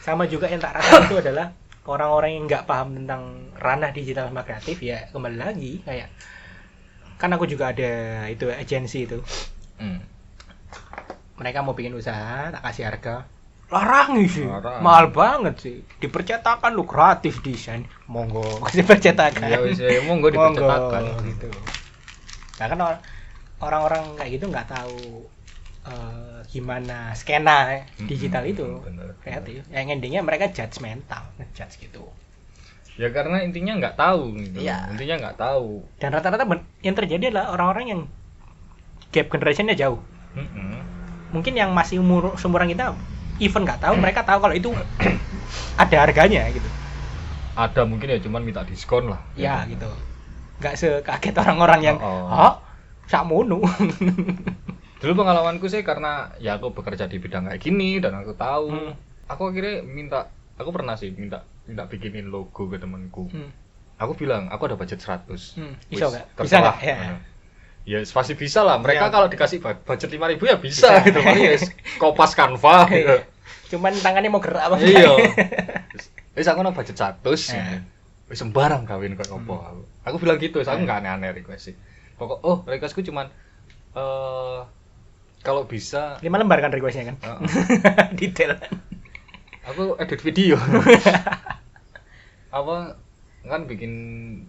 sama juga yang tak rasakan itu adalah orang-orang yang nggak paham tentang ranah digital sama kreatif ya kembali lagi kayak kan aku juga ada itu agensi itu Hmm. mereka mau bikin usaha tak kasih harga larang sih Larang. mahal banget sih dipercetakan lu kreatif desain monggo kasih percetakan Ya wis ya, monggo dipercetakan. Monggo, gitu nah kan or- orang-orang kayak gitu nggak tahu eh, gimana skena eh, digital Mm-mm, itu bener. kreatif yang endingnya mereka judgmental judge gitu Ya karena intinya nggak tahu gitu. Iya. Intinya nggak tahu. dan rata-rata ben- yang terjadi adalah orang-orang yang gap generationnya jauh Mm-mm. mungkin yang masih umur seumuran kita even nggak tahu mereka tahu kalau itu ada harganya gitu Ada mungkin ya cuman minta diskon lah. ya gitu nggak sekaget orang-orang yang Hmm. Oh, oh. oh, sakmono Dulu pengalamanku sih karena ya aku bekerja di bidang kayak gini dan aku tahu. Hmm. Aku akhirnya minta aku pernah sih minta minta bikinin logo ke temanku. hmm. Aku bilang aku ada budget 100. Hmm, Wis, bisa nggak? Bisa nggak? terserah. Ya. Nah. Ya pasti bisa lah. Ya. Mereka kalau dikasih bu- budget 5000 ya bisa, Bisa. Iya. gitu. Paling ya kopas kanva gitu. cuman tangannya mau gerak apa iya wis aku nang budget 100 Eh. Hmm. wis sembarang kawin kok opo aku aku bilang gitu wis aku nggak aneh-aneh request sih pokok oh requestku cuman eh kalau bisa lima lembar kan requestnya kan Heeh. detail aku edit video apa kan bikin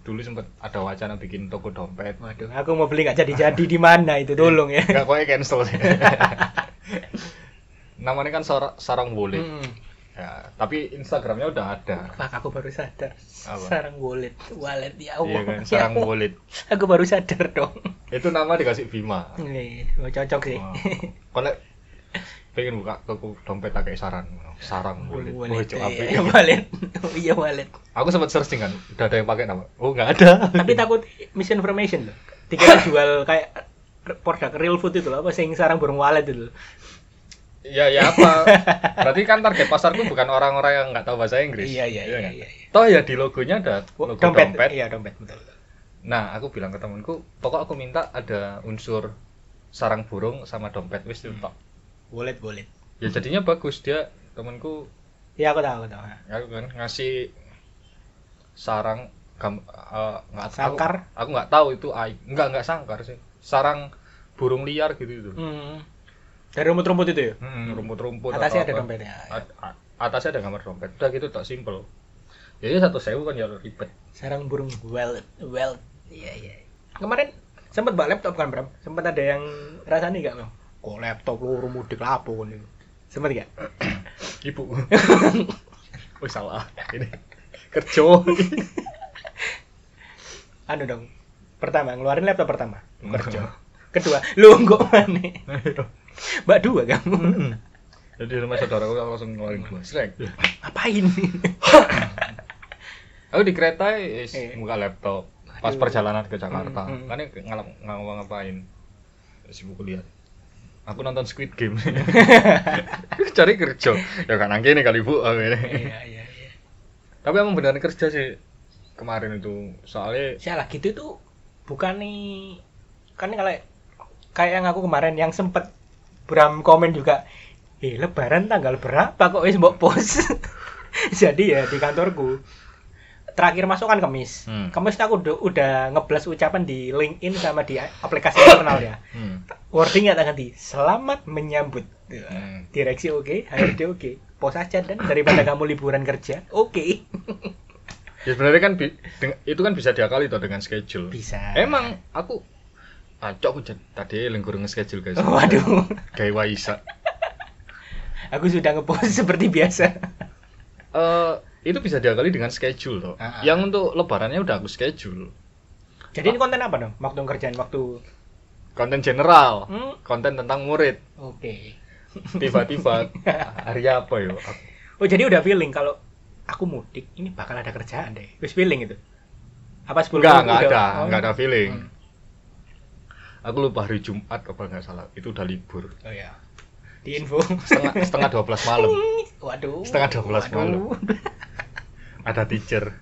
dulu sempet ada wacana bikin toko dompet waduh aku mau beli nggak jadi-jadi di mana itu tolong ya nggak koe cancel sih namanya kan sor- sarang boleh Hmm. ya, tapi instagramnya udah ada Wah, aku baru sadar Apa? sarang wallet wallet ya iya Allah kan Ya sarang Allah. boleh aku baru sadar dong itu nama dikasih Bima nih cocok sih Wah, Kalau pengen buka toko dompet agak saran, sarang boleh. Oh, cok, apik. iya wallet Oh, iya wallet Aku sempat searching kan, udah ada yang pakai nama. Oh, nggak ada. tapi takut misinformation loh tiga jual kayak produk real food itu loh apa sing sarang burung walet itu loh Ya ya apa? Berarti kan target pasarku bukan orang-orang yang nggak tahu bahasa Inggris. Iya, iya, iya, kan? iya, Toh ya di logonya ada logo dompet. iya dompet betul Nah, aku bilang ke temanku, pokok aku minta ada unsur sarang burung sama dompet wis itu tok. wallet wallet Ya jadinya bagus dia temanku iya aku tahu aku tahu aku kan ngasih sarang gam- eh, nggak tahu- Sangkar? aku nggak tahu itu ai nggak nggak sangkar sih sarang burung liar gitu itu hmm. dari rumput-rumput itu ya Hmm, rumput-rumput atasnya atau ada apa. dompetnya At- at- atasnya ada gambar dompet udah gitu tak simple jadi satu sewu kan ya ribet sarang burung wallet wallet iya iya kemarin sempat bawa laptop kan Bram sempat ada yang rasanya nggak Bram kok laptop lu mudik lapo kan itu sempat nggak ibu oh salah ini kerja anu dong pertama ngeluarin laptop pertama kerja kedua lu nggak mana mbak dua kamu jadi rumah saudaraku aku langsung ngeluarin dua srek ngapain aku Oh, di kereta ya, is, Eh. buka laptop pas Aduh. perjalanan ke Jakarta Hmm, hmm. kan ini ngalap ngapa ngapain sibuk kuliah aku nonton Squid Game cari kerja ya kan nangke ini kali bu aku ini. iya iya iya tapi emang beneran kerja sih kemarin itu soalnya salah gitu tuh bukan nih kan kalau kayak yang aku kemarin yang sempet Bram komen juga eh lebaran tanggal berapa kok wis mbok pos jadi ya di kantorku terakhir masuk kan kemis Hmm. kemis tuh aku udah, udah ngeblas ucapan di LinkedIn sama di aplikasi internal ya hmm, wordingnya tak ganti selamat menyambut Hmm. direksi oke HRD oke pos aja dan daripada kamu liburan kerja oke ya sebenarnya kan bi- deng- itu kan bisa diakali tuh dengan schedule Bisa. emang aku acok aku jad- tadi lengkur nge-schedule guys waduh kayak Waisa aku sudah ngepost seperti biasa Eh, itu bisa diakali dengan schedule loh Ah, ah. yang untuk lebarannya udah aku schedule jadi ini konten apa dong waktu kerjaan waktu konten general Hmm. konten tentang murid oke tiba-tiba hari apa yo Aku- oh jadi udah feeling kalau aku mudik ini bakal ada kerjaan deh wis feeling itu apa sebelum itu enggak enggak udah- ada oh. enggak ada feeling Hmm. aku lupa hari Jumat kalau nggak salah itu udah libur oh ya di info setengah setengah 12 malam waduh Setengah 12 Waduh. malam. ada teacher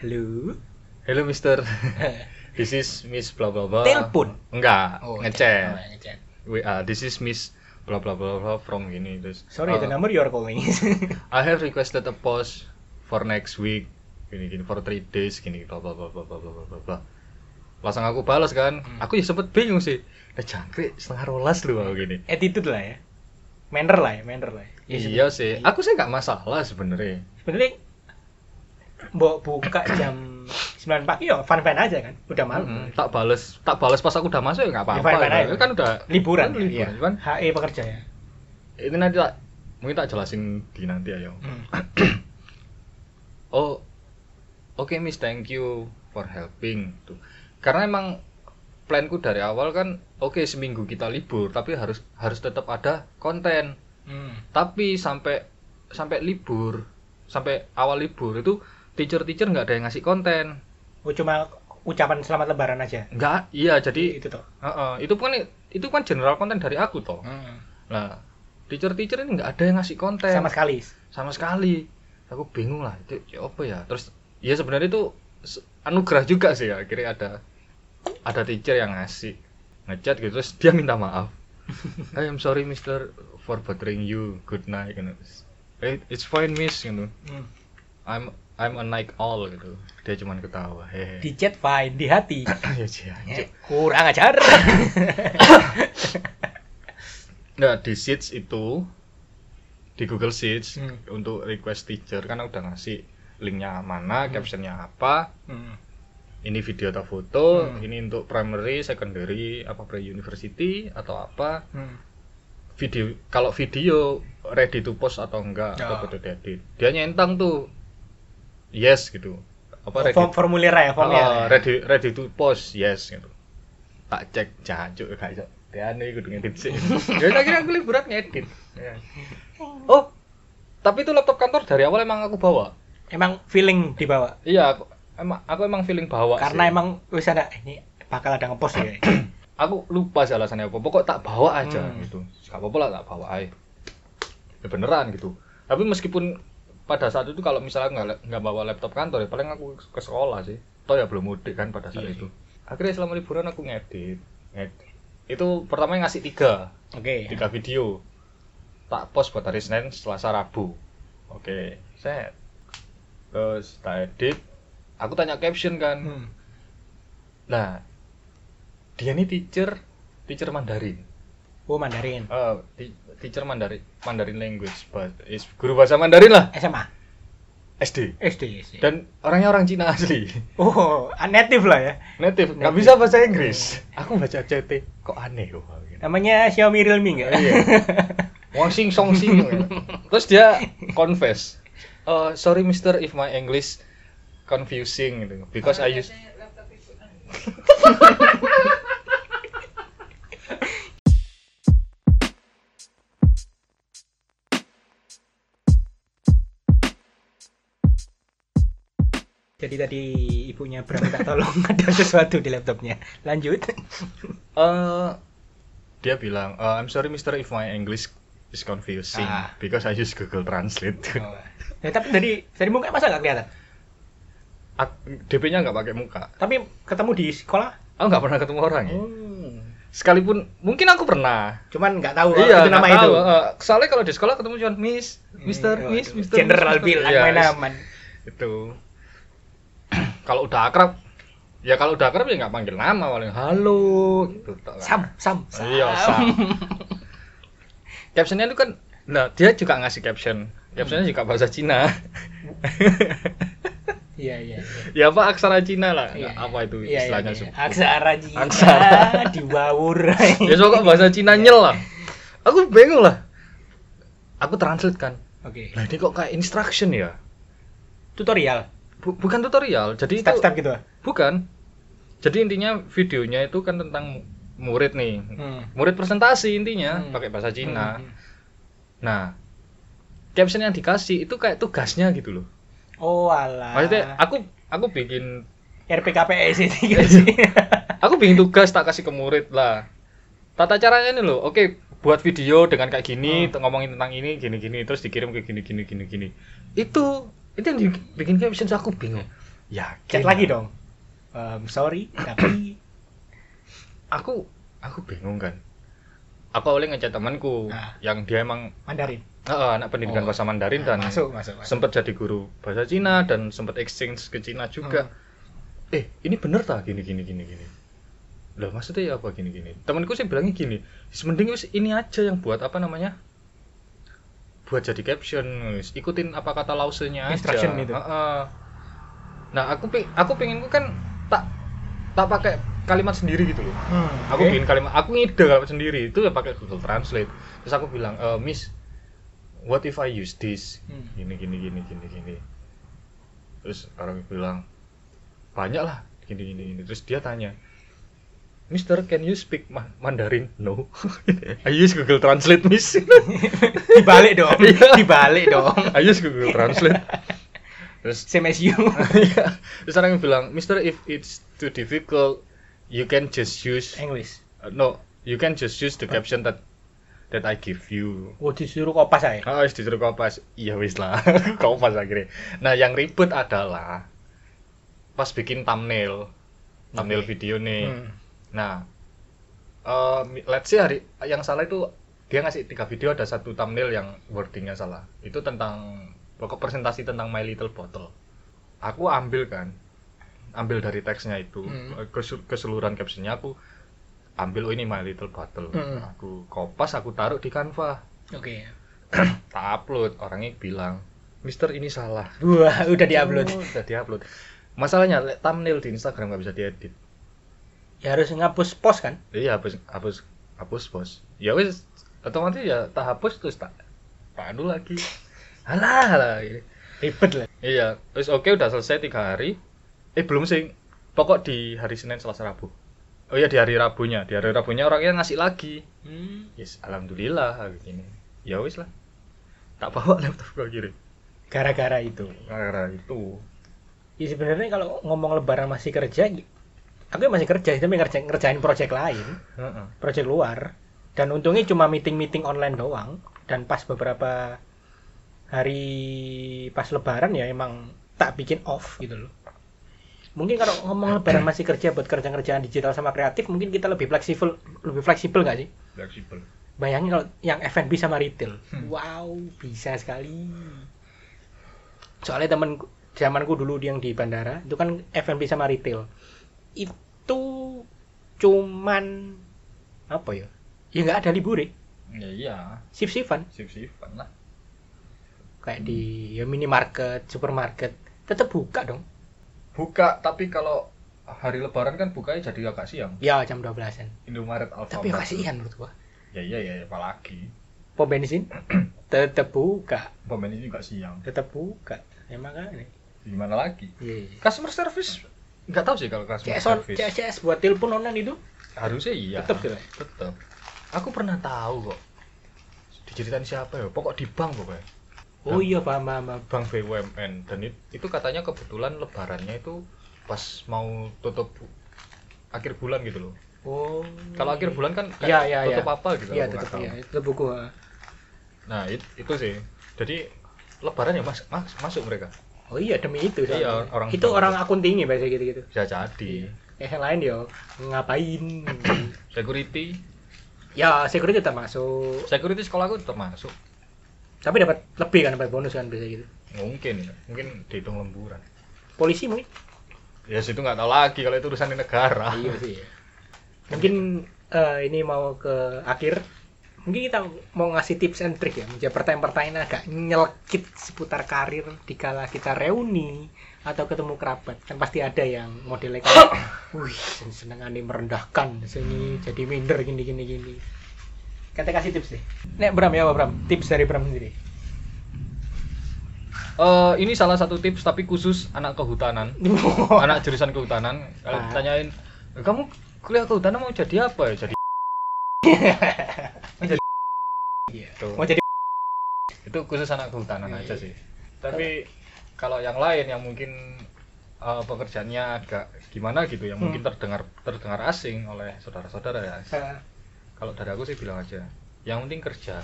halo hello mister this is miss bla bla bla Telepon? enggak Oh, ngechat ngechat WA this is miss bla bla bla bla from gini terus Sorry, uh, the number you are calling is. I have requested a post for next week gini gini for three days gini bla bla bla bla bla bla bla bla bla langsung aku balas kan Hmm. aku ya sempet bingung sih nah jangkrik setengah rolas lu aku gini Attitude lah ya. Manner lah ya, manner lah. Ya, iya sih aku sih nggak masalah sebenarnya Sebenarnya mbok buka jam 9 pagi ya fan-fan aja kan. Udah malam. Mm-mm, tak bales tak bales pas aku udah masuk ya Ya, nggak apa-apa fine-fine ya. aja. kan udah liburan. kan liburan iya. kan HE pekerja ya. itu nanti tak mungkin tak jelasin di nanti ayo Hmm. oh oke miss thank you for helping tuh karena emang planku dari awal kan oke seminggu kita libur tapi harus harus tetap ada konten Hmm. tapi sampai sampai libur sampai awal libur itu teacher-teacher nggak ada yang ngasih konten Oh, cuma ucapan selamat lebaran aja. nggak iya jadi itu toh. Heeh, itu kan itu kan general konten dari aku toh Hmm. Nah, teacher-teacher ini nggak ada yang ngasih konten Sama sekali. Sama sekali. Aku bingung lah itu ya apa ya. Terus ya sebenarnya itu se- anugerah juga sih ya, akhirnya ada ada teacher yang ngasih ngechat gitu terus dia minta maaf. I am sorry Mister for bothering you. Good night. Gitu. "Eh, It's fine Miss gitu. Hmm. I'm I'm a night owl gitu. Dia cuman ketawa. Hehe. Di chat fine, di hati. ya sih, anjing. Eh, Kurang ajar. Nah, di Sheets itu di Google Sheets Hmm. untuk request teacher kan udah ngasih linknya mana, captionnya apa, Hmm. ini video atau foto, Hmm. ini untuk primary, secondary, apa pre university atau apa Hmm. video kalau video ready to post atau enggak Ya. atau betul edit dia nyentang tuh yes gitu apa ready Form formulir ya, formnya. Oh, ready ready to post yes gitu tak cek jancuk gak iso Deane kudu ngedit sih ya akhirnya aku liburan ngedit Ya. oh tapi itu laptop kantor dari awal emang aku bawa Emang feeling dibawa. iya aku emang aku emang feeling bawa Karena sih. emang wis ada ini bakal ada ngepost ya. aku lupa sih alasannya apa pokok tak bawa aja Hmm. gitu gak apa-apa lah tak bawa aja ya beneran gitu tapi meskipun pada saat itu kalau misalnya nggak nggak bawa laptop kantor ya paling aku ke sekolah sih toh ya belum mudik kan pada saat Iya, itu akhirnya selama liburan aku ngedit ngedit itu pertama yang ngasih tiga Oke. tiga video tak post buat hari Senin Selasa Rabu oke set terus tak edit aku tanya caption kan Hmm. Nah, dia ini teacher, teacher Mandarin. Oh, Mandarin. Eh, ti- teacher Mandarin, Mandarin language, bah- is- guru bahasa Mandarin lah, SMA, SD. SD, SD. Dan orangnya orang Cina asli, Oh, native lah ya. native, Hmm. nggak Native. bisa bahasa Inggris. Aku baca CT, kok aneh oh, kok. Namanya Xiaomi Realme enggak? Iya, Wong sing song sing. Terus dia confess, "Eh, sorry Mister if my English confusing gitu. because I use Jadi tadi ibunya Bram minta tolong ada sesuatu di laptopnya. Lanjut. eh dia bilang, "Eh, I'm sorry Mister if my English is confusing Ah. because I use Google Translate. Ya, tapi dari dari muka masa nggak kelihatan? Ak- DP-nya nggak pakai muka. Tapi ketemu di sekolah. Aku nggak pernah ketemu orang ya. Hmm. Sekalipun mungkin aku pernah. Cuman nggak tahu Oh, iya, itu nama nggak itu. tahu. Iya, Eh, soalnya kalau di sekolah ketemu cuma Miss, Mister, Hmm, Miss, waduh. Mister. General Miss, bilang Iya, main is- aman. Itu. kalau udah akrab, ya kalau udah akrab ya nggak panggil nama paling halo gitu. tok kan. Sam, sam, sam. Iya, Sam. Captionnya itu kan, nah dia juga ngasih caption. Captionnya juga bahasa Cina. Iya, iya. iya. ya apa aksara Cina lah. Iya, apa Iya, itu iya, istilahnya? iya. sebut. Aksara Cina Aksara. diwawur. Ya so kok bahasa Cina nyel lah. Aku bingung lah. Aku translate kan. Oke. Nah ini kok kayak instruction ya? Tutorial. Bu- bukan tutorial. Jadi itu Step-step gitu. bukan. Jadi intinya videonya itu kan tentang mu- murid nih. Hmm. Murid presentasi intinya Hmm. pakai bahasa Cina. Hmm. Nah, caption yang dikasih itu kayak tugasnya gitu loh. Oh alah. Maksudnya aku aku bikin RPKPS ini gitu sih. aku bikin tugas tak kasih ke murid lah. Tata caranya ini loh. Oke, buat video dengan kayak gini, Hmm. ngomongin tentang ini, gini-gini, terus dikirim ke gini-gini, gini-gini. Itu itu yang dibikin caption aku bingung. Ya, Chat lagi dong. Em, sorry, tapi Aku aku bingung kan. aku awalnya ngechat temanku Ah. yang dia emang Mandarin. eh, anak pendidikan Oh. bahasa Mandarin kan? dan masuk, masuk, masuk. sempat jadi guru bahasa Cina dan sempat exchange ke Cina juga. Ah. Eh, ini bener tak gini gini gini gini. Lah maksudnya ya apa gini gini? Temanku sih bilangnya gini, "Wis, mending wis ini aja yang buat apa namanya? Buat jadi caption, wis. ikutin apa kata lausenya aja. Instruction gitu. itu. Heeh. Nah, aku pe- aku pengenku kan tak tak pakai kalimat sendiri gitu loh. Hmm, Aku oke. bikin kalimat, aku ngide kalimat sendiri itu ya pakai Google Translate. Terus aku bilang, "Eh, Miss, what if I use this? Hmm. Gini gini gini gini gini." Terus orang bilang, "Banyak lah gini gini gini." Terus dia tanya, Mister, can you speak Ma- Mandarin? No. I use Google Translate, Miss. Dibalik dong. Iya. Dibalik dong. I use Google Translate. Terus Same as you. terus orang bilang, Mister, if it's too difficult, you can just use English. Uh, no, you can just use the caption that that I give you. Oh, disuruh kopas aja. Oh, wis disuruh kopas. Iya wis lah. kopas akhirnya. Nah, yang ribet adalah pas bikin thumbnail, thumbnail Oke. video nih. Hmm. Nah, eh, mi- let's say hari yang salah itu dia ngasih tiga video ada satu thumbnail yang wordingnya salah. Itu tentang pokok presentasi tentang My Little Bottle. Aku ambil kan, ambil dari teksnya itu Hmm. eh, kesu- keseluruhan captionnya aku ambil oh ini My Little Bottle. Hmm. Aku kopas, aku taruh di Canva, Oke. tak upload. Orangnya bilang, Mister ini salah. Wah, udah diupload. Oh, Udah diupload. Masalahnya le- thumbnail di Instagram nggak bisa diedit. Ya harus ngapus post kan? Iya hapus hapus hapus bos. Ya wis otomatis ya tak hapus terus tak tak anu lagi. Alah alah. gitu. Ribet lah. Iya terus oke udah selesai tiga hari. Eh belum sih. Pokok di hari Senin Selasa Rabu. Oh iya di hari Rabunya. Di hari Rabunya orangnya ngasih lagi. Hmm. Yes alhamdulillah hari ini. Ya wis lah. Tak bawa laptop ke kiri. Gara-gara itu. Karena itu. Ya sebenarnya kalau ngomong lebaran masih kerja, aku ya masih kerja, tapi ngerjain, ngerjain project lain, Heeh. project luar. Dan untungnya cuma meeting-meeting online doang. Dan pas beberapa hari pas lebaran ya emang tak bikin off gitu loh. Mungkin kalau ngomong lebaran masih kerja buat kerja-kerjaan digital sama kreatif, mungkin kita lebih fleksibel, lebih fleksibel nggak sih? Fleksibel. Bayangin kalau yang F&B sama retail. Wow, bisa sekali. Soalnya temen zamanku dulu yang di bandara, itu kan F&B sama retail. Itu cuman apa ya? Ya nggak ada libur ya. Ya iya. Sip-sipan Sip-sipan lah. kayak di ya, minimarket, supermarket, tetap buka dong. Buka tapi kalau hari lebaran kan bukanya jadi agak siang. Ya jam 12-an. Indomaret Alfamart. Tapi kasihan menurut gua. Ya iya ya apalagi Pom bensin tetap buka, pom bensin juga siang. tetap buka. Ya makanya. Gimana lagi? Iya. iya. Customer service nggak tahu sih kalau customer CS on- service. CS buat telepon online itu Harusnya iya. Tetep sih, Le. Tetep. Aku pernah tahu kok. Diceritain siapa ya? Pokok di bank pokoknya. Oh iya paham paham. paham. Bank BUMN dan it- itu katanya kebetulan lebarannya itu pas mau tutup bu- akhir bulan gitu loh. Oh. Kalau akhir bulan kan kayak Iya, iya, tutup iya. apa gitu Iya aku nggak tetap tahu. iya, tetap buku. ha. Nah, it- itu sih. Jadi lebaran ya mas, mas masuk mereka. Oh iya demi itu. Iya, soalnya. orang- itu orang akun tinggi biasa gitu-gitu. Bisa jadi. Ya, yang lain yo ngapain? Security, ya security tetap masuk. security sekolah aku tetap masuk. Tapi dapat lebih kan dapat bonus kan biasa gitu. Mungkin, ya. mungkin dihitung lemburan. Polisi mungkin. Ya situ nggak tahu lagi kalau itu urusan di negara. Iya sih. ya. Mungkin eh, ini mau ke akhir. Mungkin kita mau ngasih tips and trick ya, menjawab pertanyaan-pertanyaan agak nyelekit seputar karir dikala kita reuni atau ketemu kerabat. Kan pasti ada yang modelnya kayak, wih seneng aneh merendahkan, sini jadi minder gini gini gini. Kan Kita kasih tips deh. Nek Bram ya Bram, tips dari Bram sendiri. Eh, ini salah satu tips tapi khusus anak kehutanan, anak jurusan kehutanan. Kalau Ah. ditanyain, kamu kuliah kehutanan mau jadi apa ya? Jadi mau jadi Iya. Itu. mau jadi Gitu. itu khusus anak kehutanan Iya, aja iya. sih. Tapi kalau yang lain yang mungkin eh, pekerjaannya agak gimana gitu, yang mungkin Hmm. terdengar terdengar asing oleh saudara-saudara ya. eh, Kalau dari aku sih bilang aja, yang penting kerja.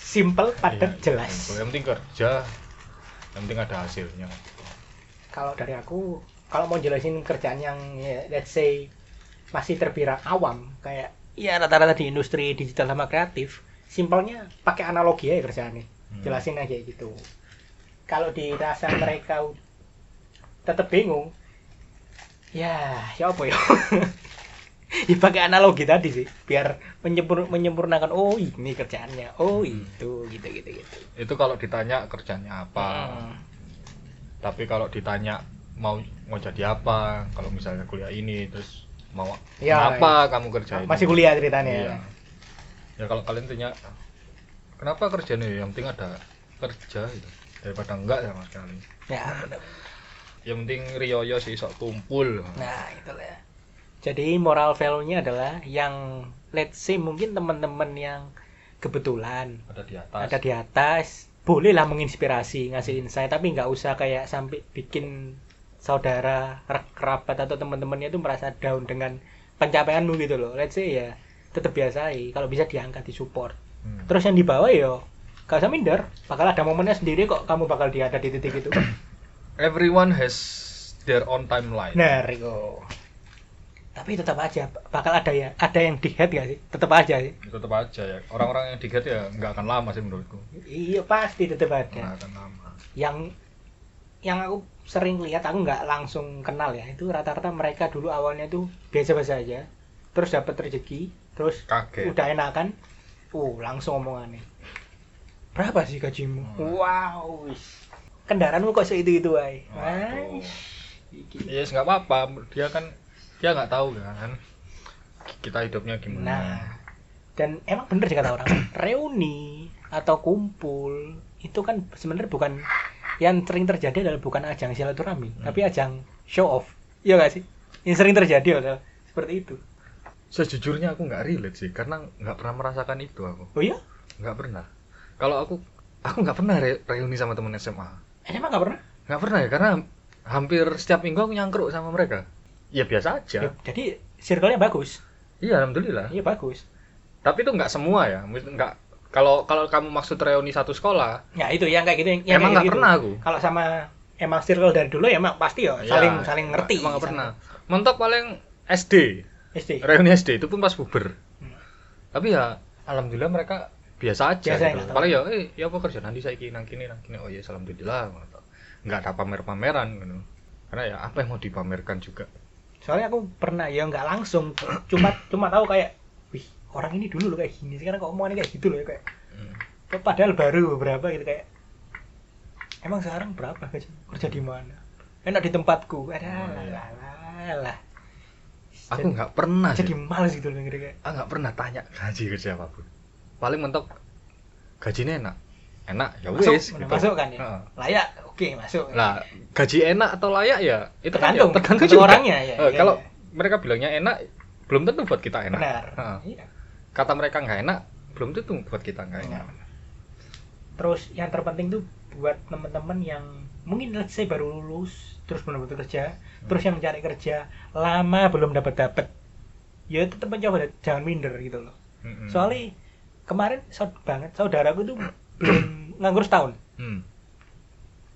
simple padat Iya, jelas. Yang penting kerja, yang penting ada hasilnya. kalau dari aku kalau mau jelasin kerjaan yang ya, let's say masih terbilang awam kayak Iya rata-rata di industri digital sama kreatif, simpelnya pakai analogi ya kerjaannya. Hmm. Jelasin aja gitu. Kalau dirasa mereka u- tetap bingung, ya ya apa ya? ya pakai analogi tadi sih, biar menyempur- menyempurnakan. Oh ini kerjaannya, oh Hmm. itu gitu gitu gitu. itu kalau ditanya kerjanya apa Hmm. tapi kalau ditanya mau mau jadi apa kalau misalnya kuliah ini terus mau Iya, kenapa kamu kerja ini Masih kuliah kan ceritanya. Iya. ya kalau kalian tanya kenapa kerja nih yang penting ada kerja gitu daripada enggak sama sekali Ya benar. yang penting rioyo sih sok kumpul Nah, itulah. Jadi moral value-nya adalah yang let's say mungkin teman-teman yang kebetulan ada di atas ada di atas bolehlah menginspirasi ngasih insight tapi nggak usah kayak sampai bikin saudara re- kerabat atau teman-temannya itu merasa down dengan pencapaianmu gitu loh let's say ya tetap biasai kalau bisa diangkat disupport Hmm. terus yang di bawah ya gak usah minder bakal ada momennya sendiri kok kamu bakal di- ada di titik itu everyone has their own timeline Benar, Riko. Tapi tetap aja bakal ada ya, ada yang di head gak sih? Tetap aja sih. tetap aja ya orang-orang yang digat ya nggak akan lama sih menurutku Iya pasti tetap nggak ada. akan lama Yang yang aku sering lihat aku nggak langsung kenal ya itu rata-rata mereka dulu awalnya tuh biasa-biasa aja terus dapat rezeki terus kaget udah enakan uh langsung omongannya berapa sih gajimu Hmm. wow wis. kendaraanmu kok seitu itu ay Waduh. Iki. Yes nggak apa-apa, dia kan dia nggak tahu kan kita hidupnya gimana. Nah, dan emang bener sih kata orang, reuni atau kumpul itu kan sebenarnya bukan yang sering terjadi adalah bukan ajang silaturahmi, Hmm. tapi ajang show off. Iya gak sih? Yang sering terjadi adalah seperti itu. Sejujurnya aku nggak relate sih, karena nggak pernah merasakan itu aku, Oh iya? nggak pernah. Kalau aku aku nggak pernah re- reuni sama temen SMA, Emang gak pernah? nggak pernah ya karena hampir setiap minggu aku nyangkruk sama mereka. Ya Ya, biasa aja. jadi circle-nya bagus. Iya alhamdulillah. Iya bagus. Tapi itu nggak semua ya, mungkin nggak. Kalau kalau kamu maksud reuni satu sekolah, Ya itu yang kayak gitu yang, yang emang kayak nggak gitu. pernah aku. Kalau sama emang circle dari dulu ya emang pasti ya saling Iya, saling ngerti. Emang nggak saling- pernah. Mentok paling SD. SD. reuni SD itu pun pas puber Hmm. tapi ya alhamdulillah mereka biasa aja Biasa gitu. ya, paling ya eh ya apa kerja nanti saya nang kini nang kini oh ya alhamdulillah gitu. nggak ada pamer-pameran gitu karena ya apa yang mau dipamerkan juga soalnya aku pernah ya nggak langsung cuma cuma tahu kayak wih orang ini dulu loh kayak gini sekarang kok omongannya kayak gitu loh ya kayak Hmm. padahal baru beberapa gitu kayak emang sekarang berapa kerja, kerja di mana enak di tempatku ada Oh, iya. lah lah lah aku nggak pernah jadi sih males gitu loh ngeri kayak aku nggak pernah tanya gaji ke siapapun paling mentok gajinya enak enak ya masuk wes mana masuk kan ya Heeh. layak oke masuk Nah, gaji enak atau layak ya itu kan ya tergantung tergantung tergantung juga. orangnya ya, Eh, iya, kalau iya. mereka bilangnya enak belum tentu buat kita enak benar Heeh. Iya, kata mereka nggak enak belum tentu buat kita nggak enak benar. terus yang terpenting tuh buat temen-temen yang mungkin let's say baru lulus terus benar-benar kerja terus yang cari kerja lama belum dapat dapat ya tetap mencoba jangan minder gitu loh Mm-mm. soalnya kemarin saud banget saudaraku tuh belum nganggur setahun Hmm.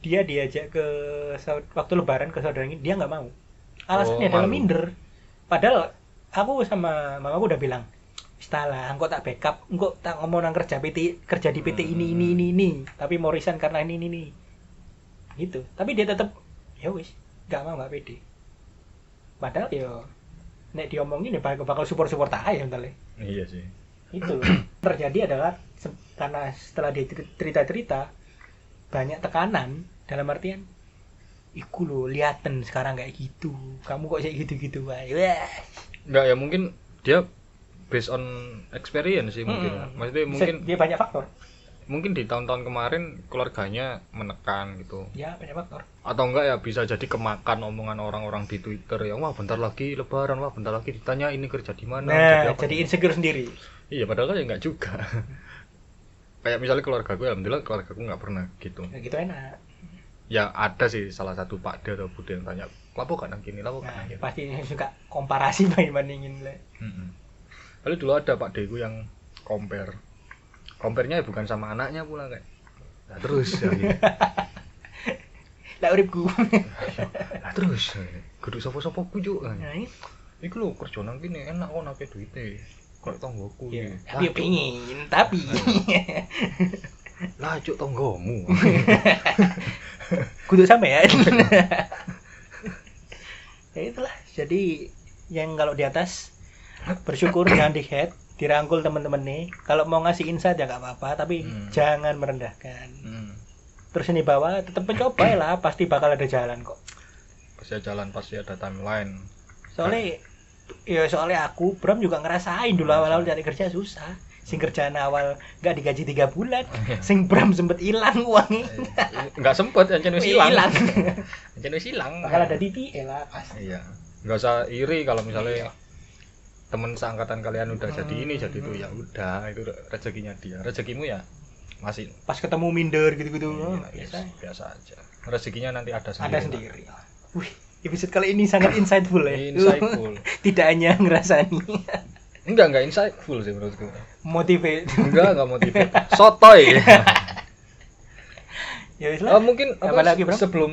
dia diajak ke saud- waktu lebaran ke saudaranya dia nggak mau alasannya Oh, adalah malu. minder padahal aku sama mamaku udah bilang Setelah engkau tak backup, engkau tak ngomong nang kerja PT, kerja di PT ini Hmm. ini ini ini, tapi mau resign karena ini ini ini. Gitu. Tapi dia tetap ya wis, gak mau gak pede. Padahal yo nek diomongin ya bakal bakal support-support aja entar le iya sih itu terjadi adalah se- karena setelah dia cer- cerita-cerita banyak tekanan dalam artian iku lo liaten sekarang kayak gitu kamu kok kayak gitu-gitu Ya, wae Wah. nggak ya mungkin dia based on experience sih mungkin Mm-mm. maksudnya Bisa- mungkin dia banyak faktor mungkin di tahun-tahun kemarin keluarganya menekan gitu ya banyak faktor atau enggak ya bisa jadi kemakan omongan orang-orang di Twitter ya wah bentar lagi lebaran wah bentar lagi ditanya ini kerja di mana nah Oh, apa?" gitu." jadi insecure sendiri iya padahal kan ya enggak juga kayak misalnya keluarga gue alhamdulillah keluarga gue nggak pernah gitu Nah, gitu enak ya ada sih salah satu pak atau bude yang tanya lapo gak nang gini lapo gak nah nang gini?" pasti suka komparasi main bandingin le Mm-mm. Lalu dulu ada Pak Deku yang compare. Compare-nya ya bukan sama anaknya pula kayak. Nah, terus ya. gitu. lah uripku Hmm. Nah, terus. Kudu sapa-sapa ku kan. juk. Nah, ini Iku lho kerja nang kene enak kok nake duite. kok tonggoku Iya. ya. Tapi ya pengin, tapi Nah, Lah cuk tonggomu. kudu sampean. ya itulah. Jadi yang kalau di atas bersyukur jangan di head dirangkul teman-teman nih kalau mau ngasih insight ya nggak apa-apa tapi Hmm. jangan merendahkan hmm. terus ini bawah tetap mencoba lah pasti bakal ada jalan kok Pasti ada jalan pasti ada timeline. soalnya ya soalnya aku Bram juga ngerasain dulu awal-awal cari kerja susah sing kerjaan awal nggak digaji tiga bulan Oh, iya. sing Bram sempet hilang uangnya Enggak Eh, sempet anjen wis hilang. Hilang. Anjen wis hilang. bakal ada titik ya lah pasti Iya. Enggak usah iri kalau misalnya temen seangkatan kalian udah jadi ini jadi itu ya udah itu rezekinya dia. Rezekimu ya masih pas ketemu minder gitu-gitu Iya, oh, biasa biasa aja. Rezekinya nanti ada sendiri. ada sendiri wih episode kali ini sangat insightful ya Insightful. tidak hanya ngerasani Enggak, enggak insightful sih menurutku. motivate Enggak, enggak motivate. Sotoy. ya wis Eh, lah mungkin Apa apa, lagi, se- Bram? sebelum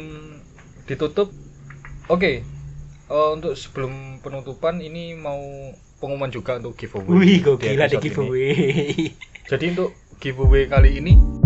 ditutup. Oke. Eh, untuk sebelum penutupan ini mau pengumuman juga untuk giveaway. wih di gokil ada episode ini. giveaway Jadi untuk giveaway kali ini